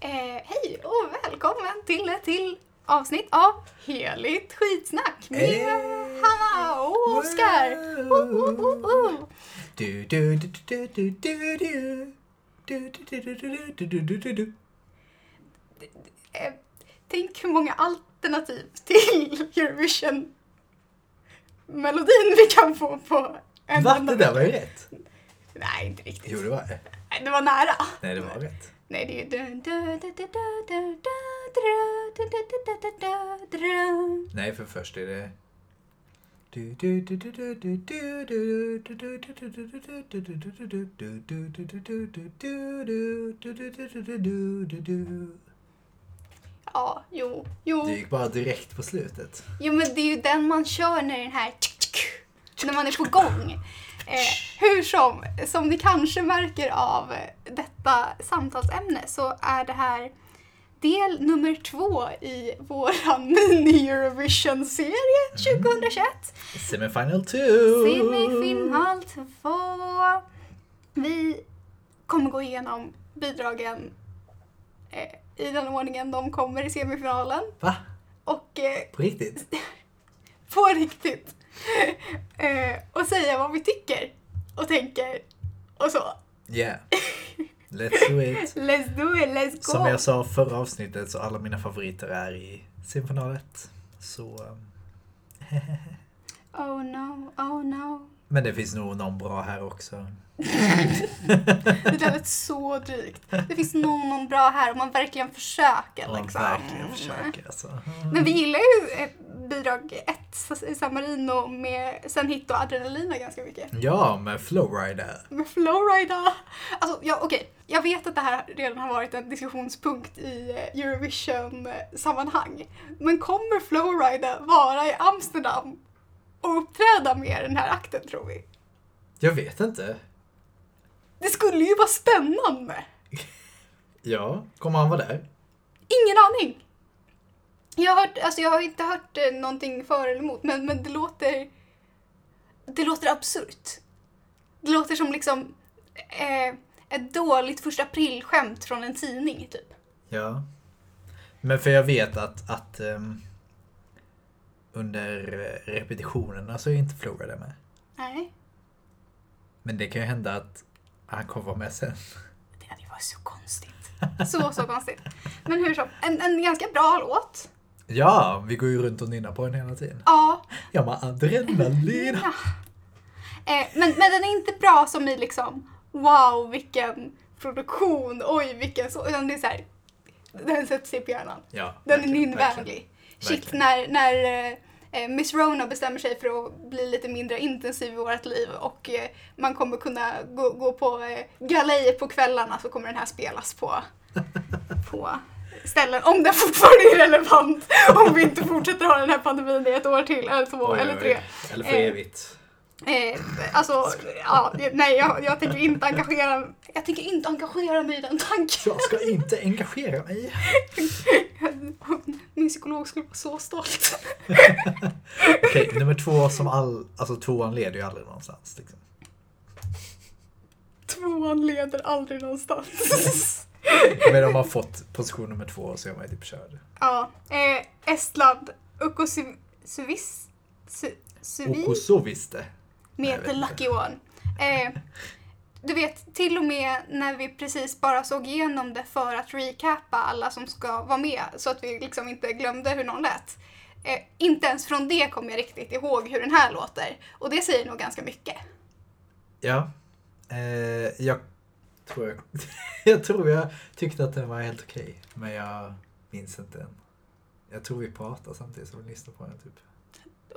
Eh, hej och välkommen till ett till avsnitt av Heligt skitsnack med Hey. Hanna och Oskar. Oh, oh, oh, oh. Du, du, du, du, du, du, du. Du, du, du, du, du, du, du, du, du, du. Eh, tänk hur många alternativ till Eurovision-melodin vi kan få på en Va? enda- Det där var ju rätt. Nej, inte riktigt. Jo, det var det. Nej, det var nära. Nej, det var rätt. Nej, det är ju... dun, dun, dun, dun, dun, dun, dun, dun, dun, dun, dun, dun, dun, dun. Nej, för först är det... Du, du, du, du, du, du, du, du, du, du, du, du, du, du, du, du, du, du, du, du, du, du, du, du, du, du, du, du, du, du, du, du. Ja, jo, jo. Du gick bara direkt på slutet. Jo men det är ju den man kör när den här tsk, tsk, när man är på gång. Eh, hur som, som ni kanske märker av detta samtalsämne så är det här del nummer två i våran mini-Eurovision-serie 2021. Semifinal 2! Semifinal 2. Vi kommer gå igenom bidragen eh, i den ordningen de kommer i semifinalen Va? och eh, På riktigt? på riktigt. Eh, och säga vad vi tycker och tänker och så. Yeah. Let's do it. Let's do it, let's go! Som jag sa förra avsnittet så alla mina favoriter är i semifinal 1. Så... eh, Oh no, oh no. Men det finns nog någon bra här också. Det där lät så drygt. Det finns någon, någon bra här om man verkligen försöker. Om man liksom. verkligen försöker alltså. Men vi gillar ju eh, bidrag ett i San Marino med Sen Hit och Adrenalina ganska mycket. Ja, med Flowrider. Med Flowrider! Alltså, ja, okej. Jag vet att det här redan har varit en diskussionspunkt i eh, Eurovision-sammanhang. Men kommer Flowrider vara i Amsterdam och uppträda med den här akten, tror vi? Jag vet inte. Det skulle ju vara spännande! Ja, kommer han vara där? Ingen aning! Jag har, hört, alltså jag har inte hört eh, någonting för eller emot, men, men det låter... Det låter absurt. Det låter som liksom eh, ett dåligt första april-skämt från en tidning, typ. Ja. Men för jag vet att, att ehm, under eh, repetitionerna så är inte Flowrider med. Nej, Men det kan ju hända att han kommer vara med sen. det hade ju varit så konstigt. Så, så konstigt. Men hur som, en, en ganska bra låt. Ja, vi går ju runt och nynnar på den hela tiden. Ja. Ja, men adrenalin. ja. Eh, men, men den är inte bra som i liksom, wow vilken produktion, oj vilken så, utan det är så här, den sätter sig på hjärnan. Ja, Den är verkligen, verkligen. nynnvänlig. Shit, Verkligen. när, när eh, Miss Rona bestämmer sig för att bli lite mindre intensiv i vårt liv och eh, man kommer kunna gå, gå på eh, galejer på kvällarna så kommer den här spelas på, på ställen. Om den fortfarande är relevant. Om vi inte fortsätter ha den här pandemin i ett år till, eller två, Oj, oj, eller oj. tre. Eller Eh, evigt. Eh, alltså, ja, nej, jag, jag tänker inte engagera Jag tänker inte engagera mig i den tanken. Jag ska inte engagera mig. Min psykolog skulle vara så stolt. Okej, nummer två som all... Alltså tvåan leder ju aldrig någonstans. Liksom. Tvåan leder aldrig någonstans. Men om man fått position nummer två så är man ju typ körd. ja, eh, Estland, Ukosuvis, Su- Suvi Och, och så visste. jag med vet The inte. Lucky One. Eh, du vet, till och med när vi precis bara såg igenom det för att recappa alla som ska vara med så att vi liksom inte glömde hur någon lät. Eh, inte ens från det kom jag riktigt ihåg hur den här låter. Och det säger nog ganska mycket. Ja. Eh, jag tror jag... jag tror jag tyckte att den var helt okej. Men jag minns inte än. Jag tror vi pratar samtidigt som vi lyssnar på den typ.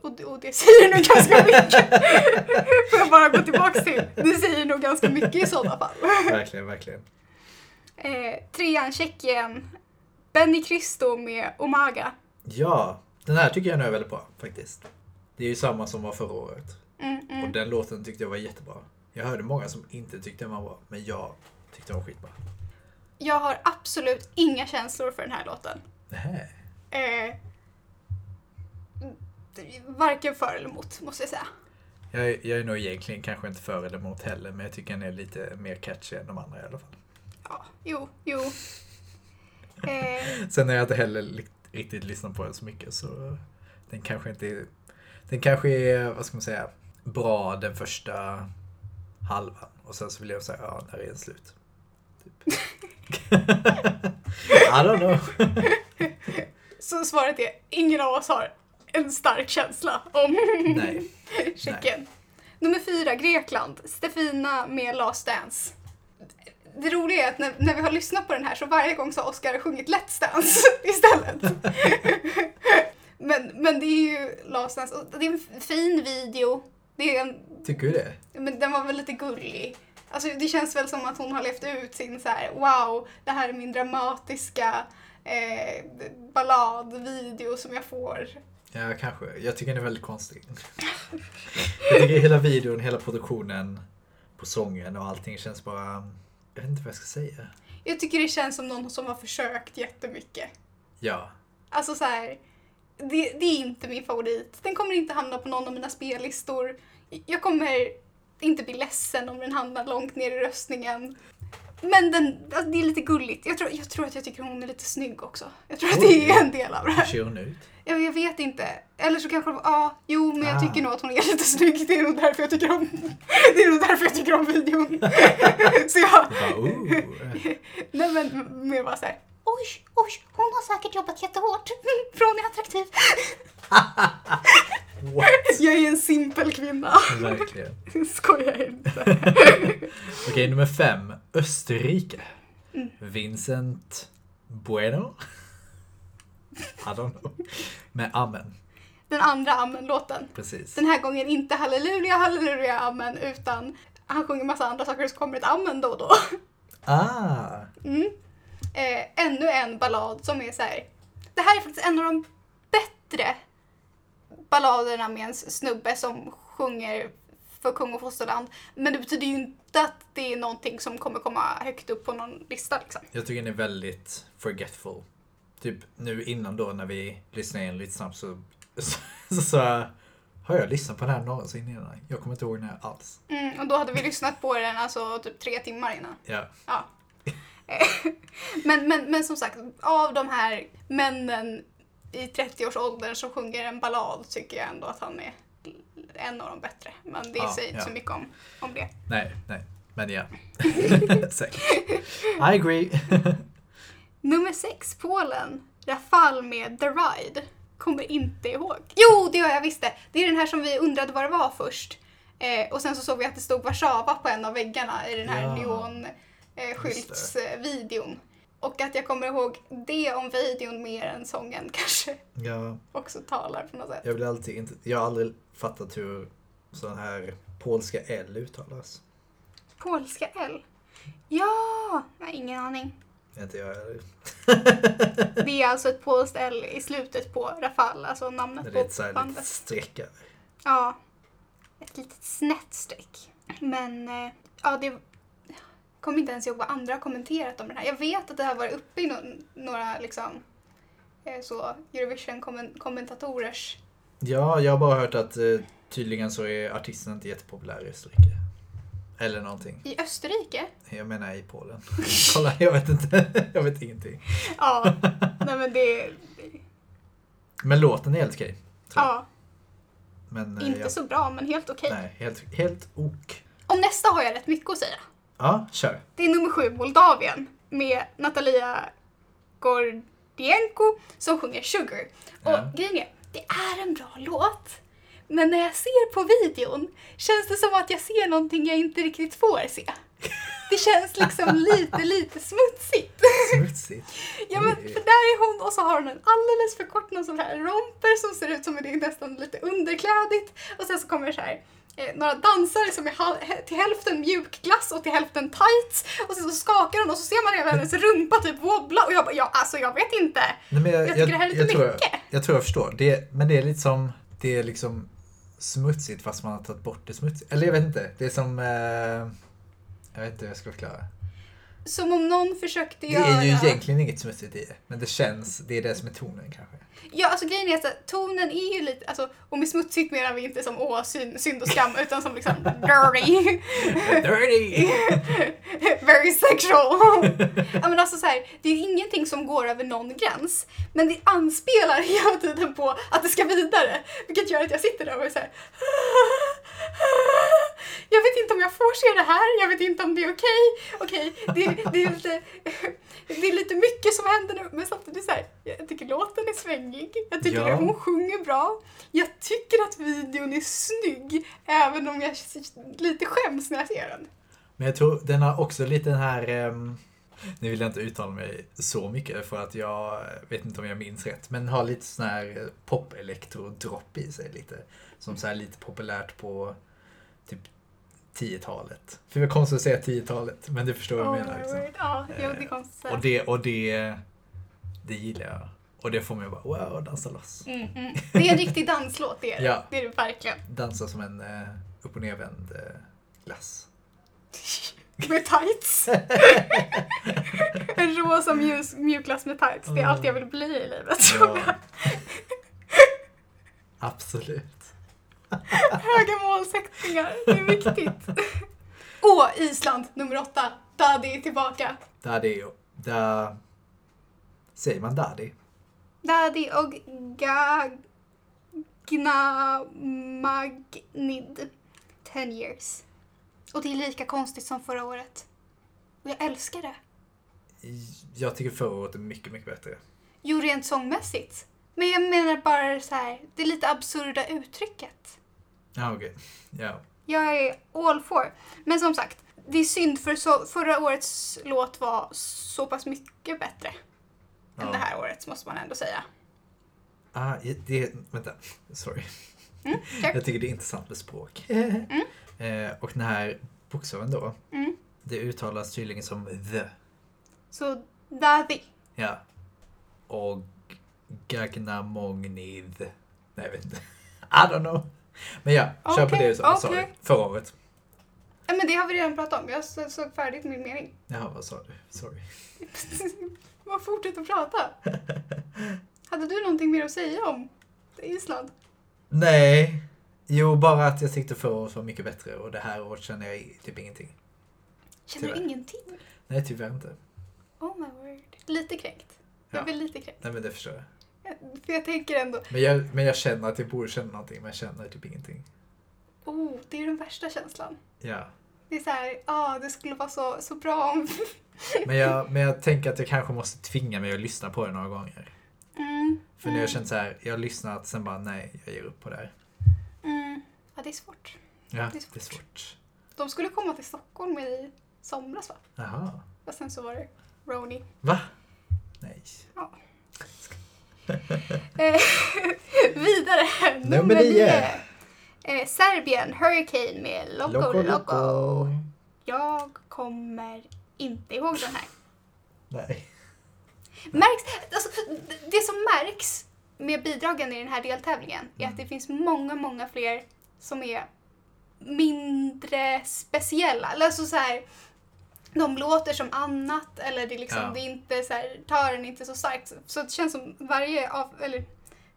Och, och det säger nog ganska mycket. Får jag bara gå tillbaka till. Det säger nog ganska mycket i sådana fall. Verkligen, verkligen. Eh, trean, Tjeckien. Benny Cristo med Omaga. Ja, den här tycker jag nu är väldigt bra faktiskt. Det är ju samma som var förra året. Mm, mm. Och den låten tyckte jag var jättebra. Jag hörde många som inte tyckte den var bra, men jag tyckte den var skitbra. Jag har absolut inga känslor för den här låten. Nähä. Eh, varken för eller emot, måste jag säga. Jag, är- jag är nog egentligen kanske inte för eller emot heller, men jag tycker den är lite mer catchy än de andra i alla fall. Ja, jo, jo. Eh, Sen har jag inte heller li- riktigt lyssnat på den så mycket så den kanske inte är, Den kanske är, vad ska man säga, bra den första halvan och sen så vill jag säga, ja, när är den slut? Typ. I don't know. så svaret är, ingen av oss har en stark känsla om Nej. Tjeckien. Nummer fyra, Grekland. Stefina med Last Dance. Det roliga är att när, när vi har lyssnat på den här så varje gång så har Oscar sjungit Let's Dance istället. men, men det är ju Last Dance. Och det är en fin video. Det är en, Tycker du det? men den var väl lite gullig. Alltså det känns väl som att hon har levt ut sin så här: wow, det här är min dramatiska eh, balladvideo som jag får. Ja, kanske. Jag tycker den är väldigt konstig. Jag tycker hela videon, hela produktionen på sången och allting känns bara... Jag vet inte vad jag ska säga. Jag tycker det känns som någon som har försökt jättemycket. Ja, Alltså så här, det, det är inte min favorit. Den kommer inte hamna på någon av mina spellistor. Jag kommer inte bli ledsen om den hamnar långt ner i röstningen. Men den, alltså det är lite gulligt. Jag tror, jag tror att jag tycker hon är lite snygg också. Jag tror att det är en del av det hur här. ser hon ut? Jag, jag vet inte. Eller så kanske, ja, jo, men jag Ah. tycker nog att hon är lite snygg. Det är nog därför jag tycker om, det är nog därför jag tycker om videon. så jag, Bara, oh. Nej men mer bara såhär, oj, oj, hon har säkert jobbat jättehårt. Mm, För hon är attraktiv. What? Jag är en simpel kvinna. Verkligen. Skojar inte. Okej, nummer fem. Österrike. Vincent Bueno? I don't know. Med Amen, Den andra Amen-låten. precis. Den här gången inte halleluja, halleluja, amen, utan han sjunger massa andra saker och så kommer ett amen då och då. Ah! Mm. Eh, ännu en ballad som är så här. Det här är faktiskt en av de bättre balladerna med en snubbe som sjunger för kung och fosterland. Men det betyder ju inte att det är någonting som kommer komma högt upp på någon lista liksom. Jag tycker den är väldigt forgetful. Typ nu innan då när vi lyssnade in lite snabbt så så- så sa jag, har jag lyssnat på den här någonsin innan? Jag kommer inte ihåg den här alls. Mm, och då hade vi lyssnat på den alltså typ tre timmar innan. Ja, Ja. Eh, men, men, men som sagt, av de här männen i 30-årsåldern som sjunger en ballad tycker jag ändå att han är en av de bättre. Men det Ja, säger inte ja. så mycket om, om det. nej, nej, men ja. Säkert. I agree. Nummer sex, Polen. Rafal med The Ride. Kommer inte ihåg. Jo, det gör jag visst det. Det är den här som vi undrade vad det var först. Eh, och sen så såg vi att det stod Warszawa på en av väggarna i den här Ja. Just neonskyltsvideon. och att jag kommer ihåg det om videon mer än sången kanske ja, också talar på något sätt. jag vill alltid inte, jag har aldrig fattat hur sån här polska L uttalas. Polska L. Ja! Nej, ingen aning. Inte jag heller. Det är alltså ett polskt L i slutet på Rafal, alltså namnet Det är på ett så här bandet. litet streck över. Ja. Ett litet snett streck. Men eh, ja, det jag kommer inte ens ihåg vad andra har kommenterat om den här. Jag vet att det har varit uppe i no- några liksom eh, så Eurovision-kommentatorers... Ja, jag har bara hört att eh, tydligen så är artisten inte jättepopulär i Österrike. Eller någonting. I Österrike? Jag menar i Polen. Kolla, jag vet inte. Jag vet ingenting. Ja, nej men det... Men låten är helt okej. tror jag. Ja, Men, eh, inte jag, så bra men helt okej. Nej, helt, helt ok. Om nästa har jag rätt mycket att säga. Ja, kör. Det är nummer sju, Moldavien, med Natalia Gordienko som sjunger Sugar. Och Ja. grejen är, det är en bra låt. Men när jag ser på videon känns det som att jag ser någonting jag inte riktigt får se. Det känns liksom lite, lite smutsigt. Smutsigt. Ja men för där är hon och så har hon en alldeles för kort någon sån här romper som ser ut som det är nästan lite underklädigt. Och sen så kommer så här eh, några dansare som är hal- hä- till hälften mjukglass och till hälften tights. Och sen så skakar hon och så ser man hela hennes rumpa typ wobbla och jag bara ja alltså jag vet inte. Nej, men Jag tycker det här är lite jag tror, jag, mycket. jag tror jag förstår. Det, men det är lite som, det är liksom smutsigt fast man har tagit bort det smutsiga. Eller jag vet inte. Det är som, eh, jag vet inte hur jag ska förklara. Som om någon försökte Det göra... är ju egentligen inget smutsigt i det, men det känns, det är det som är tonen kanske. Ja, alltså grejen är att tonen är ju lite, alltså, och med smutsigt menar vi inte som åh, synd, synd och skam, utan som liksom dirty, Dirty! very sexual. ja, men alltså så här, det är ju ingenting som går över någon gräns, men det anspelar hela tiden på att det ska vidare, vilket gör att jag sitter där och är så här. Jag vet inte om jag får se det här, jag vet inte om det är okej. Okej, det, det, är lite, det är lite mycket som händer nu, men samtidigt så här, jag tycker låten är svängig, jag tycker Ja. att hon sjunger bra, jag tycker att videon är snygg, även om jag s- lite skäms när jag ser den. Men jag tror den har också lite den här... ehm, nu vill jag inte uttala mig så mycket för att jag vet inte om jag minns rätt. Men har lite sån här eh, pop-elektro-dropp i sig lite. Som så här lite populärt på typ 10-talet. För det är konstigt att säga 10-talet, men du förstår vad jag menar. Liksom. Oh, Ja, jo, det är konstigt. Och, det, och det, det gillar jag. Och det får mig bara wow, dansa loss. Mm, mm. Det är en riktig danslåt, det är det. Ja. Det är det verkligen. Dansa som en eh, upp och nervänd eh, glass. Med tights. en rosa mjus, mjukglass med tights. Det är allt jag vill bli i livet. Ja. Absolut. Höga målsättningar, det är viktigt. Åh, Island nummer åtta. Daddy är tillbaka. Daddy och... Da... Säger man daddy? Daddy och Gagnamagnid. Ten years. Och det är lika konstigt som förra året. Och jag älskar det. Jag tycker förra året är mycket, mycket bättre. Jo, rent sångmässigt. Men jag menar bara så här, det lite absurda uttrycket. Ja, okej. Ja. Jag är all for. Men som sagt, det är synd för så, förra årets låt var så pass mycket bättre än Ja. det här årets måste man ändå säga. Ah, det... Vänta. Sorry. Mm, kör. Jag tycker det är intressant med språk. Eh, och den här bokstaven då. Mm. Det uttalas tydligen som the. Så Daddy. Ja. Och Gagnamognid. Nej, jag vet inte. I don't know. Men ja, kör på Okej, det du sa. okej. Sorry. Förra året. Ja, men det har vi redan pratat om. Jag så- såg färdigt min mening. Jaha, vad sa du? Sorry. Bara fortsätt att prata. Hade du någonting mer att säga om Island? Nej. Jo, bara att jag tyckte förra året var mycket bättre och det här året känner jag typ ingenting. Känner du Tyvärr. ingenting? Nej, tyvärr inte. Oh my word. Lite kränkt. Jag Ja. blir lite kränkt. Nej, men det förstår jag. För jag tänker ändå, Men jag, men jag känner att jag borde känna någonting, men jag känner typ ingenting. oh, det är den värsta känslan. Ja. Det är så här, ah, det skulle vara så, så bra om... Men jag, men jag tänker att jag kanske måste tvinga mig att lyssna på det några gånger. Mm, För när jag känner så här, jag har lyssnat, sen bara nej, jag ger upp på det här. mm. Ja, det är svårt. Ja, Det är svårt. det är svårt. De skulle komma till Stockholm i somras va? Jaha. Och sen så var det Roni. Va? Nej. Eh, vidare, nummer, Nummer nio. nio. Eh, Serbien, Hurricane med Loco Loco. Jag kommer inte ihåg den här. Nej. Märks, alltså, det som märks med bidragen i den här deltävlingen är Mm. att det finns många, många fler som är mindre speciella. Eller alltså så här, de låter som annat eller det, är liksom, Ja. det är inte så här, tören är inte så starkt. Så det känns som varje, av, eller,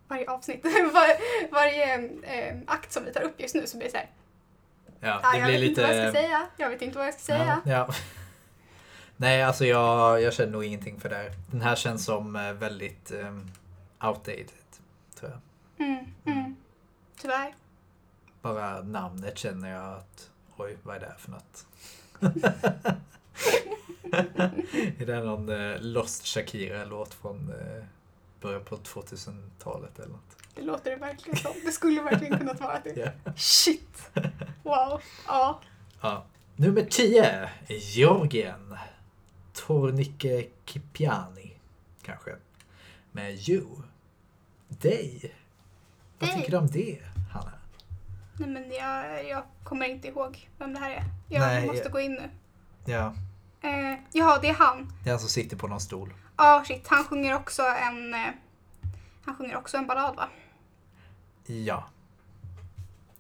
varje avsnitt, var, varje eh, akt som vi tar upp just nu så blir det så här, Ja, ah, det jag blir vet inte vad lite... jag ska säga, jag vet inte vad jag ska säga. Ja, ja. Nej, alltså jag, jag känner nog ingenting för det här. Den här känns som eh, väldigt ehm, outdated, tror jag. Mm, mm. Tyvärr. Bara namnet känner jag att, oj, vad är det här för något? är det någon eh, Lost Shakira-låt från eh, början på 2000-talet eller något? Det låter det verkligen som. Det skulle verkligen kunna vara det. Ja. Shit! Wow. Ja. Ja. Nummer 10, Georgien. Tornike Kipiani, kanske. Med You. Dig. Vad Dig. tycker du om det, Hanna? Nej men jag, jag kommer inte ihåg vem det här är. Jag Nej, måste jag- gå in nu. Ja, Eh, jaha, det är han. det är han som sitter på någon stol. Ja, shit. Han sjunger också en... Eh, han sjunger också en ballad va? Ja.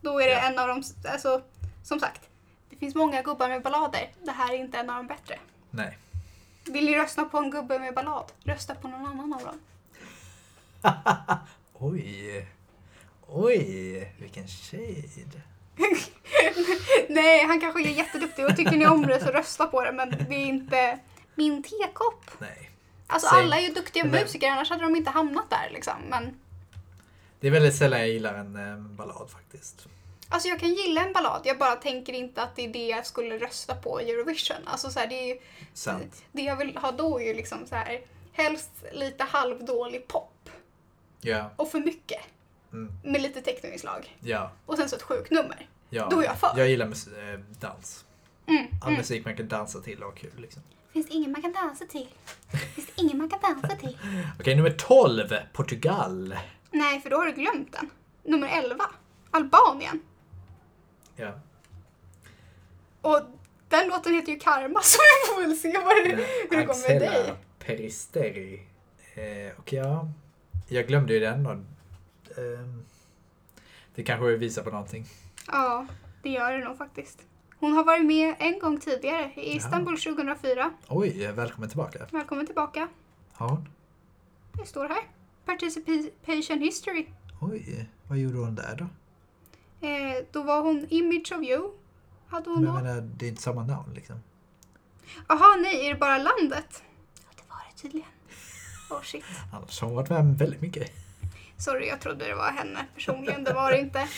Då är det Ja. en av de... Alltså, som sagt. Det finns många gubbar med ballader. Det här är inte en av de bättre. Nej. Vill ni rösta på en gubbe med ballad? Rösta på någon annan av dem. Oj. Oj, vilken shade. Nej, han kanske är jätteduktig och tycker ni om det så rösta på det men det är inte min tekopp. Nej. Alltså Säg- alla är ju duktiga Men- musiker annars hade de inte hamnat där liksom. Men Det är väldigt sällan jag gillar en eh, ballad faktiskt. alltså jag kan gilla en ballad, jag bara tänker inte att det är det jag skulle rösta på i Eurovision. Alltså så här, det är ju Sant. Det jag vill ha då är ju liksom så här, helst lite halvdålig pop Ja, och för mycket Mm. med lite technoinslag ja, och sen så ett sjukt nummer. ja. Då är jag för. Jag gillar mus- eh, dans. Mm, All mm. musik man kan dansa till och ha kul liksom. Finns det ingen man kan dansa till? Finns det ingen man kan dansa till? Okej, nummer 12. Portugal. Nej, för då har du glömt den. Nummer 11, Albanien. Ja. Och den låten heter ju Karma så vi får väl se vad det, hur det går med dig. Axella Peristeri. Eh, och ja, jag glömde ju den. Och, ehm, det kanske visar på någonting. Ja, det gör det nog faktiskt. Hon har varit med en gång tidigare, i Istanbul 2004. Oj, välkommen tillbaka. Välkommen tillbaka. Har hon? Det står här. Participation history. Oj, vad gjorde hon där då? Eh, då var hon Image of You. Hade hon Men jag då? menar, det är inte samma namn liksom. Jaha, nej, är det bara landet? Ja, det var det tydligen. Oh shit. Annars har hon varit med väldigt mycket. Sorry, jag trodde det var henne personligen. Det var det inte. Nej,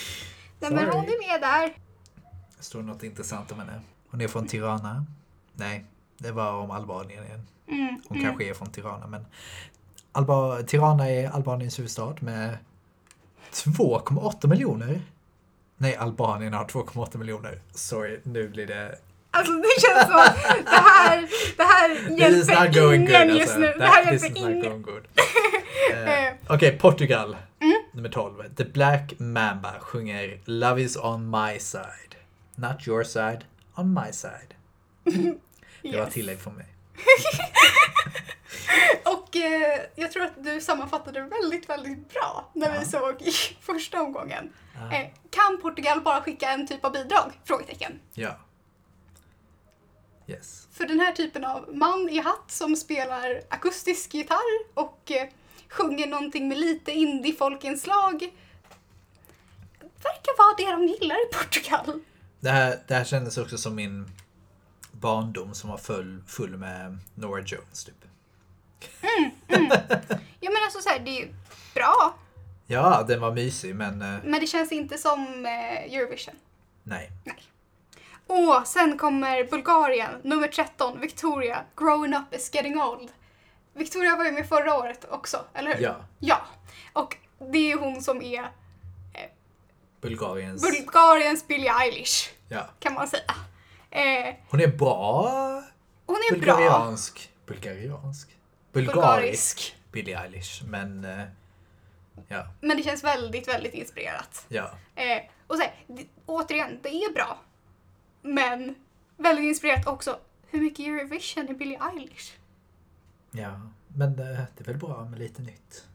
men Sorry. hon är med där. Står det något intressant om henne? Hon är från Tirana. Nej, det var om Albanien igen. Mm, Hon mm. kanske är från Tirana, men Alba- Tirana är Albaniens huvudstad med 2,8 miljoner. Nej, Albanien har 2,8 miljoner. Sorry, nu blir det... Alltså det känns som att det här, det här This is not hjälper going ingen good just alltså. nu. Det That- här this hjälper is not ingen. Mm. going good. Eh, Okej, Portugal. Nummer 12. The Black Mamba sjunger Love is on my side. Not your side, on my side. Det var ett Yes. tillägg från mig. Och eh, jag tror att du sammanfattade väldigt, väldigt bra när vi Ja. såg i första omgången. Ah, Eh, kan Portugal bara skicka en typ av bidrag? Frågetecken. Ja. Yes. För den här typen av man i hatt som spelar akustisk gitarr och eh, sjunger någonting med lite indie-folkinslag verkar vara det de gillar i Portugal. Det här, det här kändes också som min barndom som var full, full med Nora Jones typ. Jag menar alltså så här, det är ju bra, Ja, den var mysig men eh, men det känns inte som eh, Eurovision. nej. Och sen kommer Bulgarien, nummer 13, Victoria, Growing Up is Getting Old. Victoria var ju med förra året också, eller hur? Ja, ja. Och det är ju hon som är Bulgariens... Bulgariens Billie Eilish. ja. kan man säga. Eh, Hon är bra. hon är bra. Bulgariansk. Bulgariansk. Bulgarisk. Bulgarisk. Billie Eilish. Men eh, ja, Men det känns väldigt, väldigt inspirerat. ja. Eh, och så här, det, återigen, det är bra. Men väldigt inspirerat också. Hur mycket Eurovision är Billie Eilish? Ja, men eh, det är väl bra med lite nytt.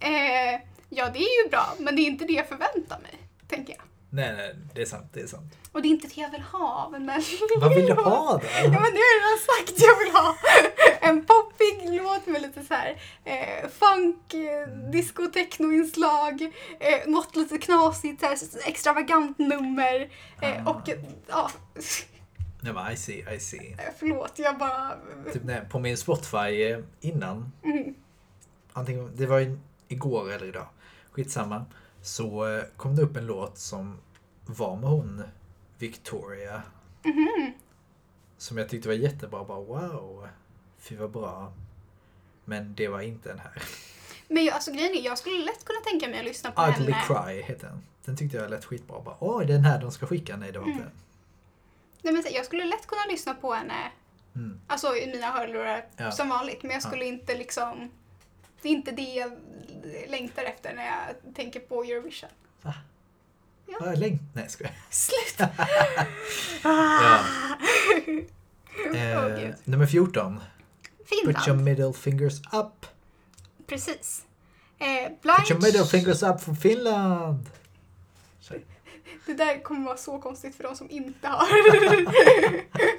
Eh, ja, det är ju bra, men det är inte det jag förväntar mig, tänker jag. Nej, nej, det är sant, det är sant. Och det är inte det jag vill ha av en människa. Vad vill du ha Ja, då? men det har jag redan sagt. Jag vill ha en poppig låt med lite så här eh, funk, eh, disco, techno-inslag, eh, något lite knasigt, så här, extravagant nummer eh, Ah. och eh, ja, Nej, men I see, I see. förlåt, jag bara... mm. Typ när, på min Spotify eh, innan. Antingen, det var ju igår eller idag. Skitsamma. Så eh, kom det upp en låt som var med hon Victoria. Mhm. Som jag tyckte var jättebra. Bara wow. Fy vad bra. Men det var inte den här. Men jag, alltså grejen är, jag skulle lätt kunna tänka mig att lyssna på Ugly henne. Cry heter den. Den tyckte jag lät skitbra. Bara, Åh, den här de ska skicka. Nej, det var Mm. inte den. Nej, men så här, jag skulle lätt kunna lyssna på henne, Mm. alltså i mina hörlurar Ja. som vanligt, men jag skulle inte liksom... Det är inte det jag längtar efter när jag tänker på Eurovision. Ja. Ah, läng- Nej, jag skojar. Sluta! Ja. Åh, Eh, gud. nummer 14. Put your Finland, middle fingers up. precis. Eh, Put your middle blind, fingers up for Finland! Det där kommer vara så konstigt för de som inte har,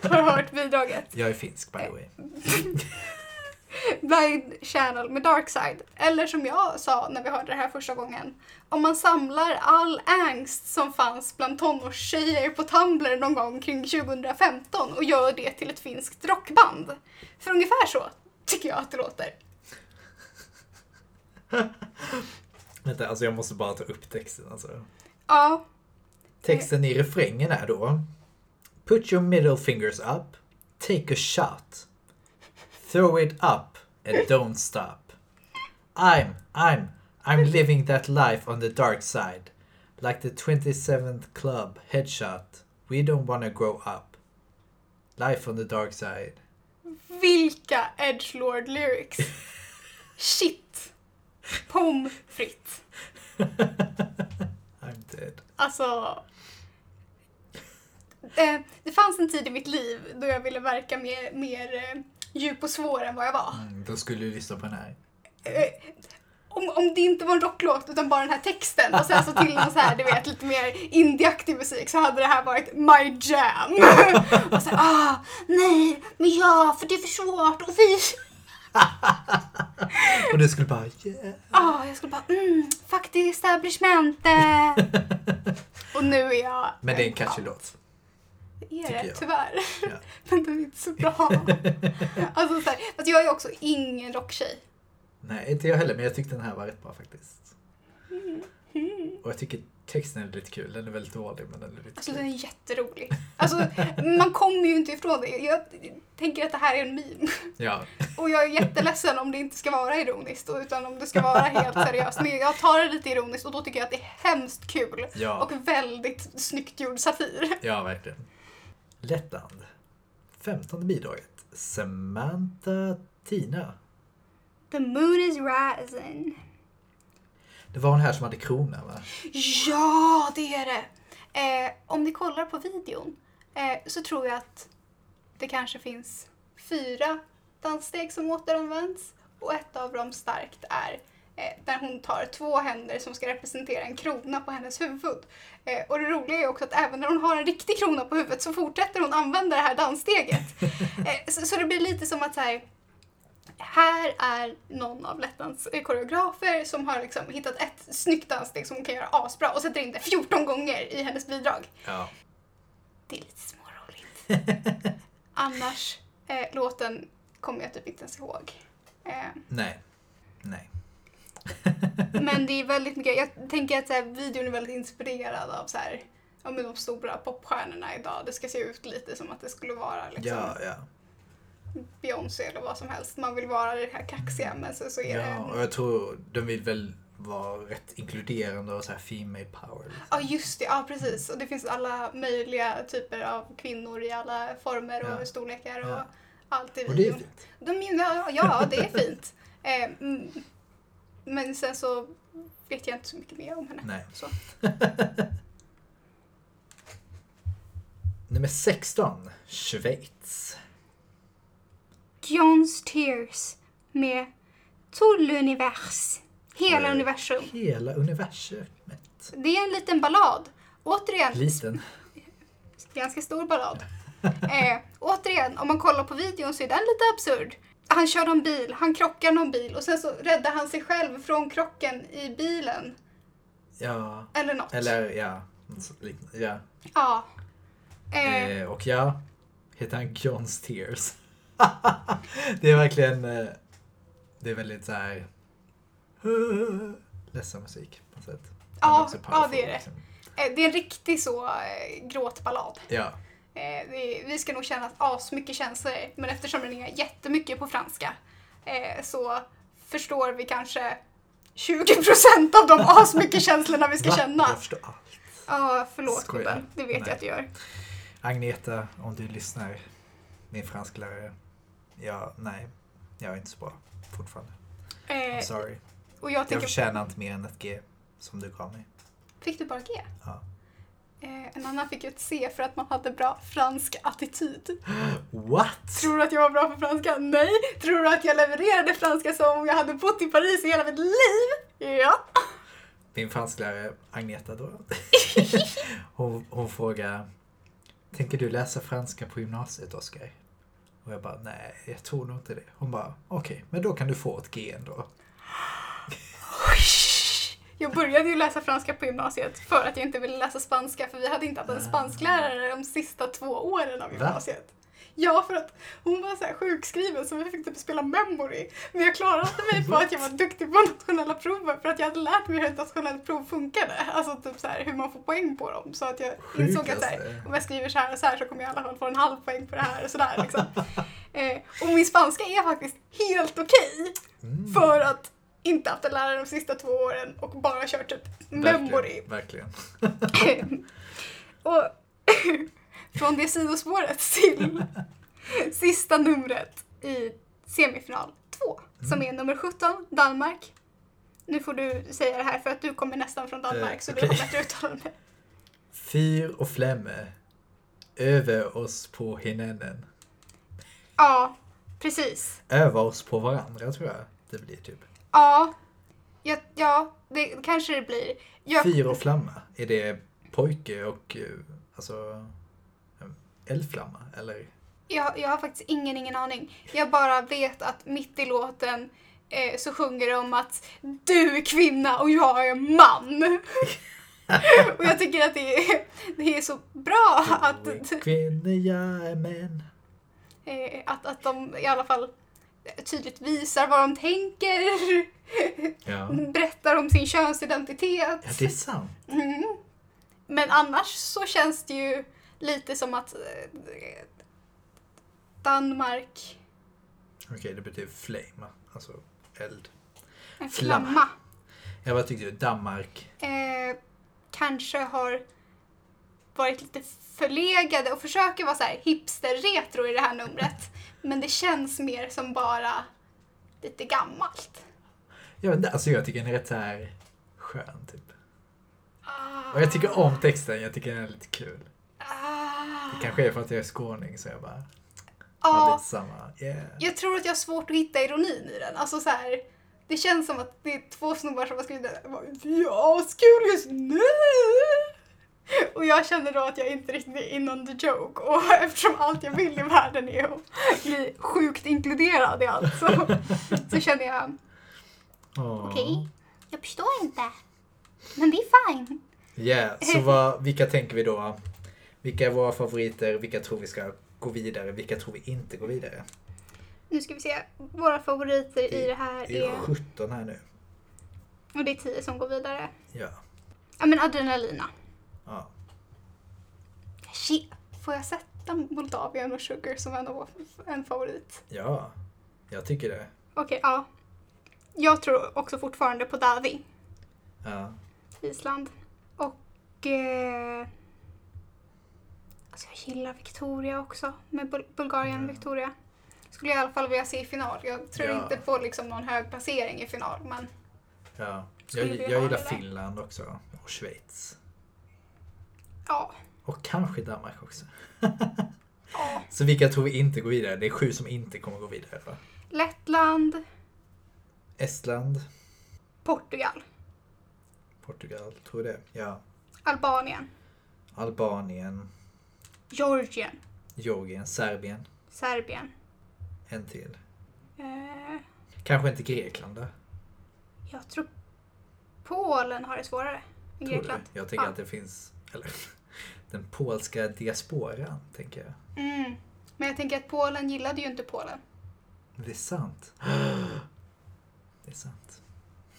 har hört bidraget. Jag är finsk by the way. Blind Channel med Darkside. Eller som jag sa när vi hörde det här första gången. Om man samlar all angst som fanns bland tonårstjejer på Tumblr någon gång kring 2015 och gör det till ett finskt rockband. För ungefär så tycker jag att det låter. Vänta, alltså jag måste bara ta upp texten alltså. Ja, Texten i refrängen är då Put your middle fingers up, take a shot, throw it up and don't stop. I'm, I'm, I'm living that life on the dark side. Like the 27th club headshot, we don't wanna grow up. Life on the dark side. vilka Edgelord lyrics! Shit! Pommes frites. I'm dead. Alltså... Eh, det fanns en tid i mitt liv då jag ville verka mer, mer eh, djup och svår än vad jag var. Mm, då skulle du lyssna på den här. Eh, om, om det inte var en rocklåt utan bara den här texten och sen så till någon så här, du vet, lite mer indieaktig musik så hade det här varit my jam. och så här, ah, nej, men ja, för det är för svårt och vi... Och du skulle bara yeah. Ah, jag skulle bara, mm, fuck the establishment. eh." och nu är jag... Men det är en catchy låt. Det är tycker det, jag. tyvärr. Ja. Men de är inte så bra. alltså, så här, fast jag är också ingen rocktjej. Nej, inte jag heller, men jag tyckte den här var rätt bra faktiskt. Och jag tycker texten är lite kul. Den är väldigt dålig, men den är lite Alltså kul. den är jätterolig. Alltså, man kommer ju inte ifrån det. Jag tänker att det här är en meme. Ja, Och jag är jätteledsen om det inte ska vara ironiskt och- utan om det ska vara helt seriöst. Men jag tar det lite ironiskt och då tycker jag att det är hemskt kul. ja, Och väldigt snyggt gjord satir. ja, verkligen. Lettland. Femtonde bidraget. Samantha Tina. The moon is rising. Det var hon här som hade krona, va? Ja, det är det! Eh, om ni kollar på videon eh, så tror jag att det kanske finns fyra danssteg som återanvänds och ett av dem starkt är eh, där hon tar två händer som ska representera en krona på hennes huvud. Eh, och det roliga är också att även när hon har en riktig krona på huvudet så fortsätter hon använda det här danssteget. Eh, så, så det blir lite som att så här, här är någon av Lettlands eh, koreografer som har liksom hittat ett snyggt danssteg som hon kan göra asbra och sätter in det 14 gånger i hennes bidrag. Ja. Det är lite småroligt. Annars, eh, låten kommer jag typ inte ens ihåg. Eh, Nej. Nej. men det är väldigt mycket, jag tänker att så här, videon är väldigt inspirerad av så här, ja, men de stora popstjärnorna idag. Det ska se ut lite som att det skulle vara liksom, Ja, ja. Beyoncé eller vad som helst. Man vill vara det här kaxiga men så, så är det... Ja, och jag tror de vill väl vara rätt inkluderande och så här female power. liksom. Ja just det, ja precis. Och det finns alla möjliga typer av kvinnor i alla former och Ja. storlekar och Ja. allt i Och det är videon. fint. De, ja, ja, det är fint. Eh, mm. men sen så vet jag inte så mycket mer om henne. Nej. Så. Nummer 16. Schweiz. John's Tears med Tull Univers. Hela Eh. universum. Hela universumet. Det är en liten ballad. Återigen, Liten. ganska stor ballad. Eh, återigen, om man kollar på videon så är den lite absurd. Han kör någon bil, han krockar någon bil och sen så räddar han sig själv från krocken i bilen. Ja, Eller något. eller ja. något så liknande. ja. Ja. Eh, Eh, och ja, heter han John's Tears. det är verkligen, eh, det är väldigt så här ledsam musik på något sätt. Men Ja, också ja, powerful, det är det. liksom. eh, det är en riktig så eh, gråtballad. Ja, Eh, vi, vi ska nog känna asmycket känslor men eftersom den är jättemycket på franska eh, så förstår vi kanske 20% av de asmycket känslorna vi ska Va? känna. Jag förstår allt. Ja, förlåt Skojar. gubben. Det vet Nej. jag att du gör. Agneta, om du lyssnar, min fransklärare. Ja, nej, jag är inte så bra fortfarande. I'm Eh, och jag sorry. Alltså, Jag tänker förtjänar inte mer än ett G som du gav mig. Fick du bara G? Ja. Eh, en annan fick ju ett C för att man hade bra fransk attityd. What? Tror du att jag var bra på franska? Nej. Tror du att jag levererade franska som om jag hade bott i Paris i hela mitt liv? Ja. min fransklärare Agneta då. hon, hon frågar Tänker du läsa franska på gymnasiet Oskar? Och jag bara nej, jag tror nog inte det. Hon bara okej, men då kan du få ett G ändå. Jag började ju läsa franska på gymnasiet för att jag inte ville läsa spanska för vi hade inte haft en Ah. spansklärare de sista två åren av Va? gymnasiet. Ja, för att hon var så här sjukskriven så vi fick typ spela memory. Men jag klarade mig på att jag var duktig på nationella proven för att jag hade lärt mig hur ett nationellt prov funkade. Alltså typ så här hur man får poäng på dem. Så att jag insåg att så här, Sjukaste. om jag skriver så här och så här så kommer jag i alla fall få en halv poäng på det här och sådär. Liksom. Eh, och min spanska är faktiskt helt okej. Mm, För att inte haft en lärare de sista två åren och bara kört typ memory. Verkligen. verkligen. och från det sidospåret till sista numret i semifinal 2 Mm. som är nummer 17, Danmark. Nu får du säga det här för att du kommer nästan från Danmark Eh, så okej. du har bättre uttalande. Fyr och flämme över oss på hinenen. Ja, precis. Öva oss på varandra tror jag det blir typ. Ja, ja, ja det kanske det blir. Jag, Fyr och flamma, är det pojke och eh, alltså eh, eldflamma eller? Jag, jag har faktiskt ingen, ingen aning. Jag bara vet att mitt i låten eh, så sjunger de om att du är kvinna och jag är man. och jag tycker att det är, det är så bra att, Du är Kvinna, jag är män. eh, att, att de i alla fall tydligt visar vad de tänker, Ja. berättar om sin könsidentitet. ja, det är sant. Mm. Men annars så känns det ju lite som att eh, Danmark Okej, det betyder flame, alltså eld. En Flamma. flamma. Jag bara tyckte Danmark, Eh, kanske har varit lite förlegade och försöker vara så här hipster-retro i det här numret. Men det känns mer som bara lite gammalt. jag vet inte, alltså jag tycker den är rätt så här skön typ. Och jag tycker om texten, jag tycker den är lite kul. Ah. Det kanske är för att jag är skåning så jag bara har Ja, lite samma, yeah. jag tror att jag har svårt att hitta ironin i den. Alltså så här, det känns som att det är två snubbar som har skrivit den. Jag bara, Jag har kul just nu! Och jag känner då att jag inte riktigt är in on the joke och eftersom allt jag vill i världen är att bli sjukt inkluderad i allt så, så känner jag, Åh. okej, jag förstår inte. Men det är fine. Yeah, så vad, vilka tänker vi då? Vilka är våra favoriter? Vilka tror vi ska gå vidare? Vilka tror vi inte går vidare? Nu ska vi se, våra favoriter i det här Det är är, 17 här nu. och det är tio som går vidare. Ja. Ja men adrenalina. ja. Shit. Får jag sätta Moldavien och Sugar som en, av- en favorit? Ja, jag tycker det. Okej, ja. Jag tror också fortfarande på Davi, Ja. Island. Och... Eh, alltså jag gillar Victoria också, med Bul- Bulgarien och Ja. Victoria. Skulle jag i alla fall vilja se i final. Jag tror Ja. inte på liksom någon hög placering i final, men ja. Skulle Jag, vi jag ha gillar det där? Finland också. Och Schweiz. ja. Och kanske Danmark också. ja. Så vilka tror vi inte går vidare? Det är sju som inte kommer gå vidare. Va? Lettland, Estland, Portugal, Portugal, tror jag det. Ja. Albanien, Albanien, Georgien, Georgien, Serbien. Serbien. En till. Eh, Kanske inte Grekland då? Jag tror Polen har det svårare än Tror du? Grekland. Jag tänker Ja. att det finns, eller den polska diasporan, tänker jag. Mm. Men jag tänker att Polen gillade ju inte Polen. Men Det är sant. Det är sant.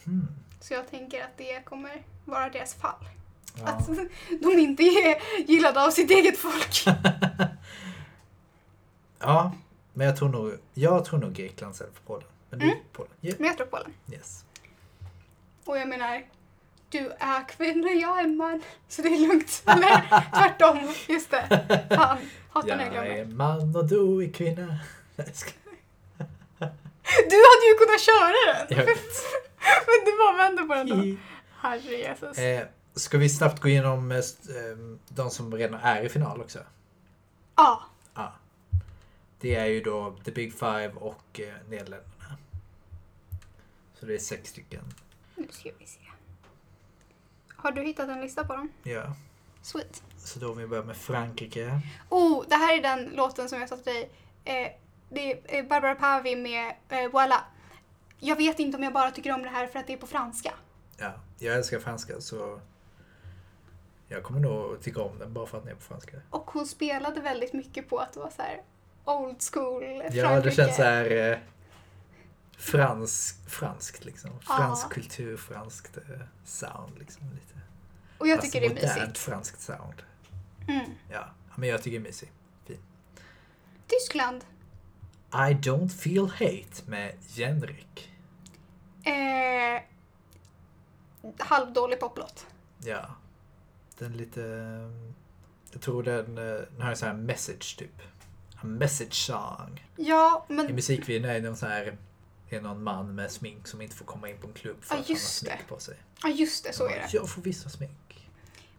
Hmm. Så jag tänker att det kommer vara deras fall. Ja. Att de inte är gillade av sitt eget folk. ja, men jag tror nog, jag tror nog Grekland istället för Polen. Men du, Polen. Yeah. Men jag tror Polen. Yes. Och jag menar, du är kvinna, jag är man. Så det är lugnt. Eller tvärtom. Just det. Fan. Hatar när jag Jag glömmer. är man och du är kvinna. Nej, jag skojar. Du hade ju kunnat köra den. Jag Men du bara vänder på den då. Herre Jesus. Eh, Ska vi snabbt gå igenom eh, st- ehm, de som redan är i final också? Ja. Ja. Det är ju då The Big Five och eh, Nederländerna. Så det är sex stycken. Nu ska vi se. Har du hittat en lista på dem? Ja. Sweet. Så då om vi börjar med Frankrike. Oh, det här är den låten som jag sa till dig. Eh, det är Barbara Pavi med eh, Voila. Jag vet inte om jag bara tycker om det här för att det är på franska. Ja, jag älskar franska så jag kommer nog att tycka om den bara för att den är på franska. Och hon spelade väldigt mycket på att det var så här old school Frankrike. Ja, det känns så här eh, fransk, franskt liksom. Fransk Ja. kultur, franskt eh, sound liksom. Lite. Och jag Fast tycker det är modernt mysigt. franskt sound. Mm. Ja, men jag tycker det är mysigt. Tyskland. I don't feel hate med Jenrik. Eh, halvdålig poplåt. Ja. Den lite... eh, Jag tror den, eh, den har en sån här message typ. A message song. Ja, I men musikvideon är det någon sån här... Det är någon man med smink som inte får komma in på en klubb för Ja, att han har just smink på sig. ja, just det, så är det. Jag får vissa smink.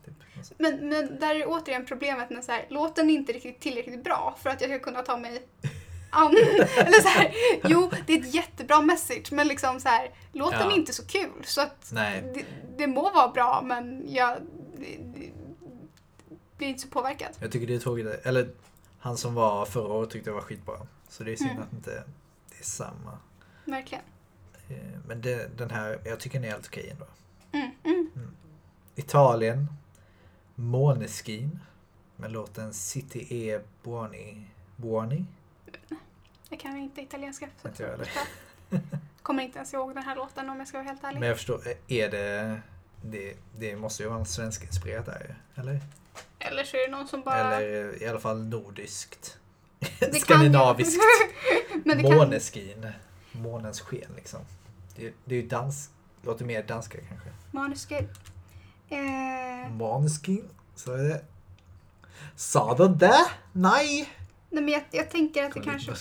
Typ. någon sån- Men, men där är återigen problemet när så här, låten är inte riktigt tillräckligt bra för att jag ska kunna ta mig an. Eller så här, jo, det är ett jättebra message men liksom så här, låten Ja. är inte så kul så att Nej, det, det må vara bra men jag det, det, blir inte så påverkad. jag tycker det är tråkigt. Eller han som var förra året tyckte jag var skitbra. Så det är synd Mm. att inte det är samma. Verkligen. Eh, Men det, den här, jag tycker den är helt okej ändå. Mm, mm. Italien. Måneskin. Med låten City E Buoni. Buoni? Jag kan inte italienska. så- Inte jag heller. Kommer inte ens ihåg den här låten om jag ska vara helt ärlig. Men jag förstår, eh, är det... Det, det måste ju vara en svensk inspirerat där ju, eller? Eller så är det någon som bara... Eller eh, i alla fall nordiskt. Det kan ju- Skandinaviskt. men det kan... Måneskin. Månens sken liksom. Det, det är ju dansk. Låter mer danska kanske. Måneskin. Eh... Måneskin. Så är det. Sa de det? Nej! Nej, men jag, jag tänker att det kanske...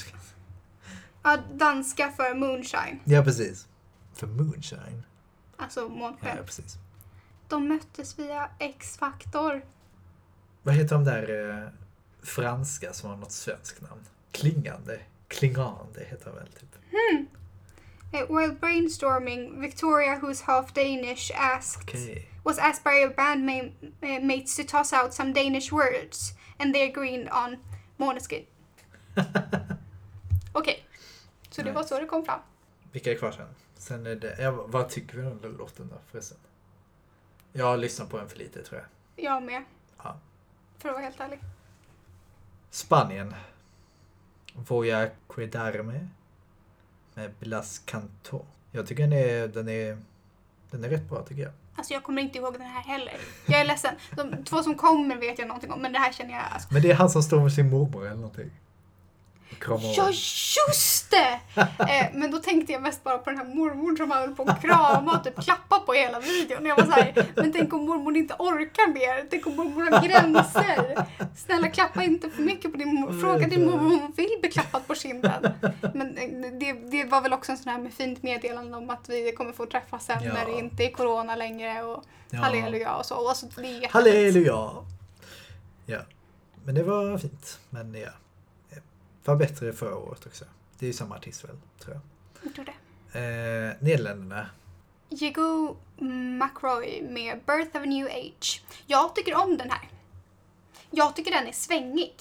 Ja, danska för moonshine. Ja precis. För Moonshine. Alltså månsken. Ja precis. De möttes via X-faktor. Vad heter de där eh, franska som har något svenskt namn? Klingande. Klingande heter de väl typ. Eh, While brainstorming, Victoria, who's half Danish, asked, Okej. was asked by her bandmates eh, to toss out some Danish words, and they agreed on måneskin. Okej, så det var Nice. så det kom fram. Vilka är kvar sen? Sen är det... Ja, vad tycker vi om den låten då förresten? Jag har lyssnat på den för lite tror jag. Jag med, Ja. för att vara helt ärlig. Spanien. Voya Quedarme. Med Blas Canto. Jag tycker den är, den är... Den är rätt bra tycker jag. Alltså jag kommer inte ihåg den här heller. Jag är ledsen. De två som kommer vet jag någonting om, men det här känner jag alltså, Men det är han som står med sin mormor eller någonting. Och kramar om. Ja, just det! Eh, men då tänkte jag mest bara på den här mormor som han höll på att krama och typ klappa på i hela videon. Jag var så här, men tänk om mormor inte orkar mer? Tänk om mormor har gränser? Snälla klappa inte för mycket på din mormor. Fråga din mormor om hon vill bli klappad på kinden. Men eh, det, det var väl också en sån här med fint meddelande om att vi kommer få träffas sen Ja. när det inte är corona längre och Ja. halleluja och så. Och alltså, det är jättefint. Halleluja! Ja. Men det var fint. Men ja. Eh, Var bättre förra året också. Det är ju samma artist väl, tror jag. Jag tror det. Eh, Nederländerna. Jigo mm, McRoy med Birth of a New Age. Jag tycker om den här. Jag tycker den är svängig.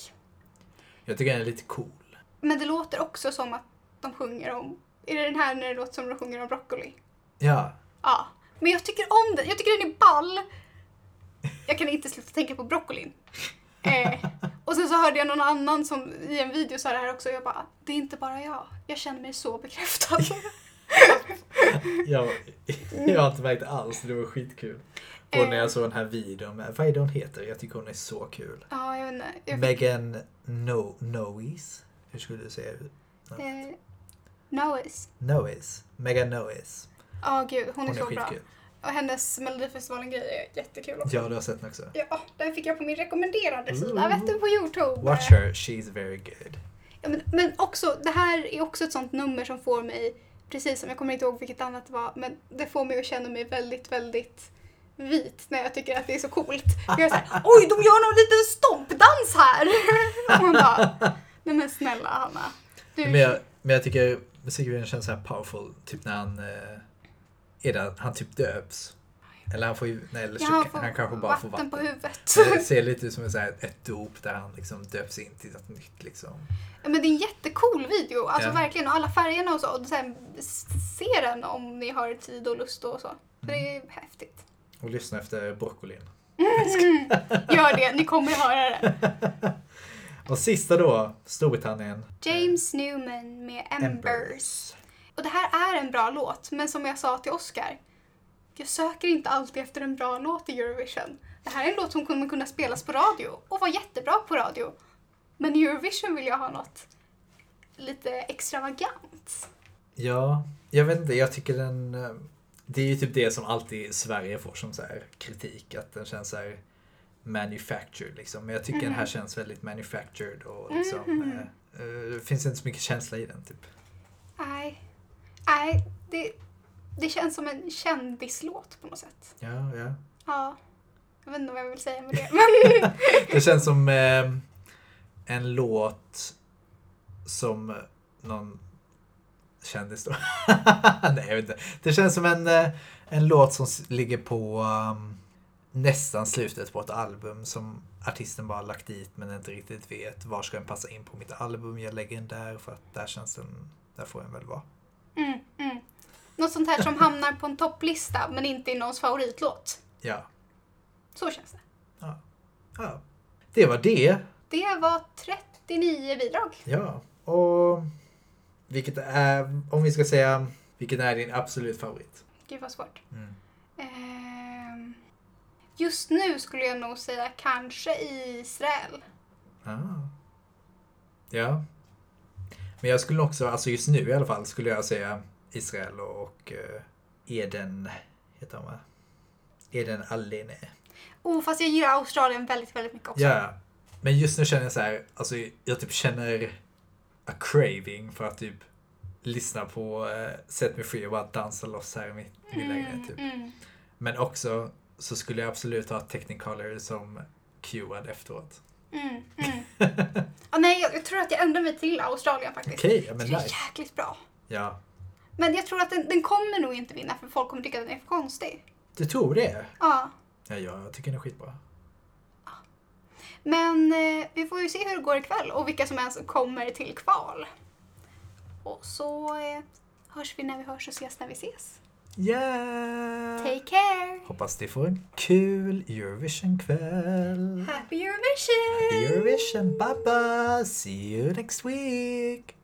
Jag tycker den är lite cool. Men det låter också som att de sjunger om... Är det den här när det låter som de sjunger om broccoli? Ja. Ja. Men jag tycker om den. Jag tycker den är ball. Jag kan inte sluta tänka på broccolin. Eh, och sen så hörde jag någon annan som i en video sa det här också. Jag bara, det är inte bara jag. Jag känner mig så bekräftad. Jag, jag har inte märkt alls. Det var skitkul. Och när jag Eh. såg den här videon med, vad är det hon heter? Jag tycker hon är så kul. ja, jag vet inte. Jag fick, Megan no, Noes. Hur skulle du säga? eh, Noes. Noes. Megan Noes. Ja, gud. Hon, Hon är är så bra. skitkul. Och hennes Melodifestivalen-grej är jättekul också. Ja, du har sett den också. Ja, den fick jag på min rekommenderade sida, Ooh. vet du, på Youtube. Watch her, she's very good. Ja, men, men också, det här är också ett sånt nummer som får mig, precis som jag kommer inte ihåg vilket annat det var, men det får mig att känna mig väldigt, väldigt vit när jag tycker att det är så coolt. För jag är såhär, oj, de gör någon liten stompdans här! Och man bara, nej men snälla Hanna. Du, Men jag, men jag tycker musikvideon känns så här powerful. Typ när han... Eh, är där, han typ döps. Eller han får ju, nej, eller Ja, så, han, kanske bara får vatten vatten. på huvudet. Det ser lite ut som ett, så här, ett dop där han liksom döps in till något nytt liksom. Ja, Men det är en jättecool video, alltså Ja. verkligen. Och alla färgerna och så. Och sen, se den om ni har tid och lust och så. Så det är häftigt. Och lyssna efter broccolin. Gör det, ni kommer höra det. Och sista då, Storbritannien. James Newman med Embers. Och det här är en bra låt, men som jag sa till Oscar. Jag söker inte alltid efter en bra låt i Eurovision. Det här är en låt som kommer kunna spelas på radio och vara jättebra på radio. Men i Eurovision vill jag ha något lite extravagant. Ja, jag vet inte, jag tycker den... eh, Det är ju typ det som alltid Sverige får som så här kritik, att den känns så här manufactured liksom. Men jag tycker den här känns väldigt manufactured och liksom... Mhm. eh, eh, det finns inte så mycket känsla i den typ. Nej, nej, det, det känns som en kändislåt på något sätt. Ja, ja. Ja, jag vet inte vad jag vill säga med det. Men Det känns som eh, en låt som någon kändis då. Nej, jag vet inte. Det känns som en, eh, en låt som s- ligger på um, nästan slutet på ett album som artisten bara lagt dit men inte riktigt vet var ska den passa in på mitt album. Jag lägger den där för att där känns den, där får den väl vara. mm, mm. Något sånt här som hamnar på en topplista men inte i någons favoritlåt. Ja, Så känns det. ja. Det var det. Det var 39 bidrag. Ja, och vilket är, om vi ska säga, vilken är din absolut favorit? Gud vad svårt. Mm. Ehm, Just nu skulle jag nog säga kanske Israel. Ah. Ja. Men jag skulle också, alltså just nu i alla fall, skulle jag säga Israel och, och eh, Eden, heter han va? Eden Allene. Oh, fast jag gillar Australien väldigt, väldigt mycket också. Ja. Men just nu känner jag så här, alltså jag typ känner a craving för att typ lyssna på eh, Set Me Free och bara dansa loss här i mitt, min lägenhet typ. mm. Men också så skulle jag absolut ha Technicolor som cuead efteråt. Mm, mm. Ah, nej, jag, jag tror att jag ändrar mig till Australien faktiskt. Okej, ja, men Det är nice. jäkligt bra. Ja, Men jag tror att den, den kommer nog inte vinna för folk kommer tycka att den är för konstig. du tror det? Ja. Ja, jag tycker den är skitbra. Men eh, vi får ju se hur det går ikväll och vilka som ens kommer till kval. Och så eh, hörs vi när vi hörs och ses när vi ses. Yeah! Take care! Hoppas ni får en kul Eurovision-kväll. Happy Eurovision! Eurovision, bye bye! See you next week!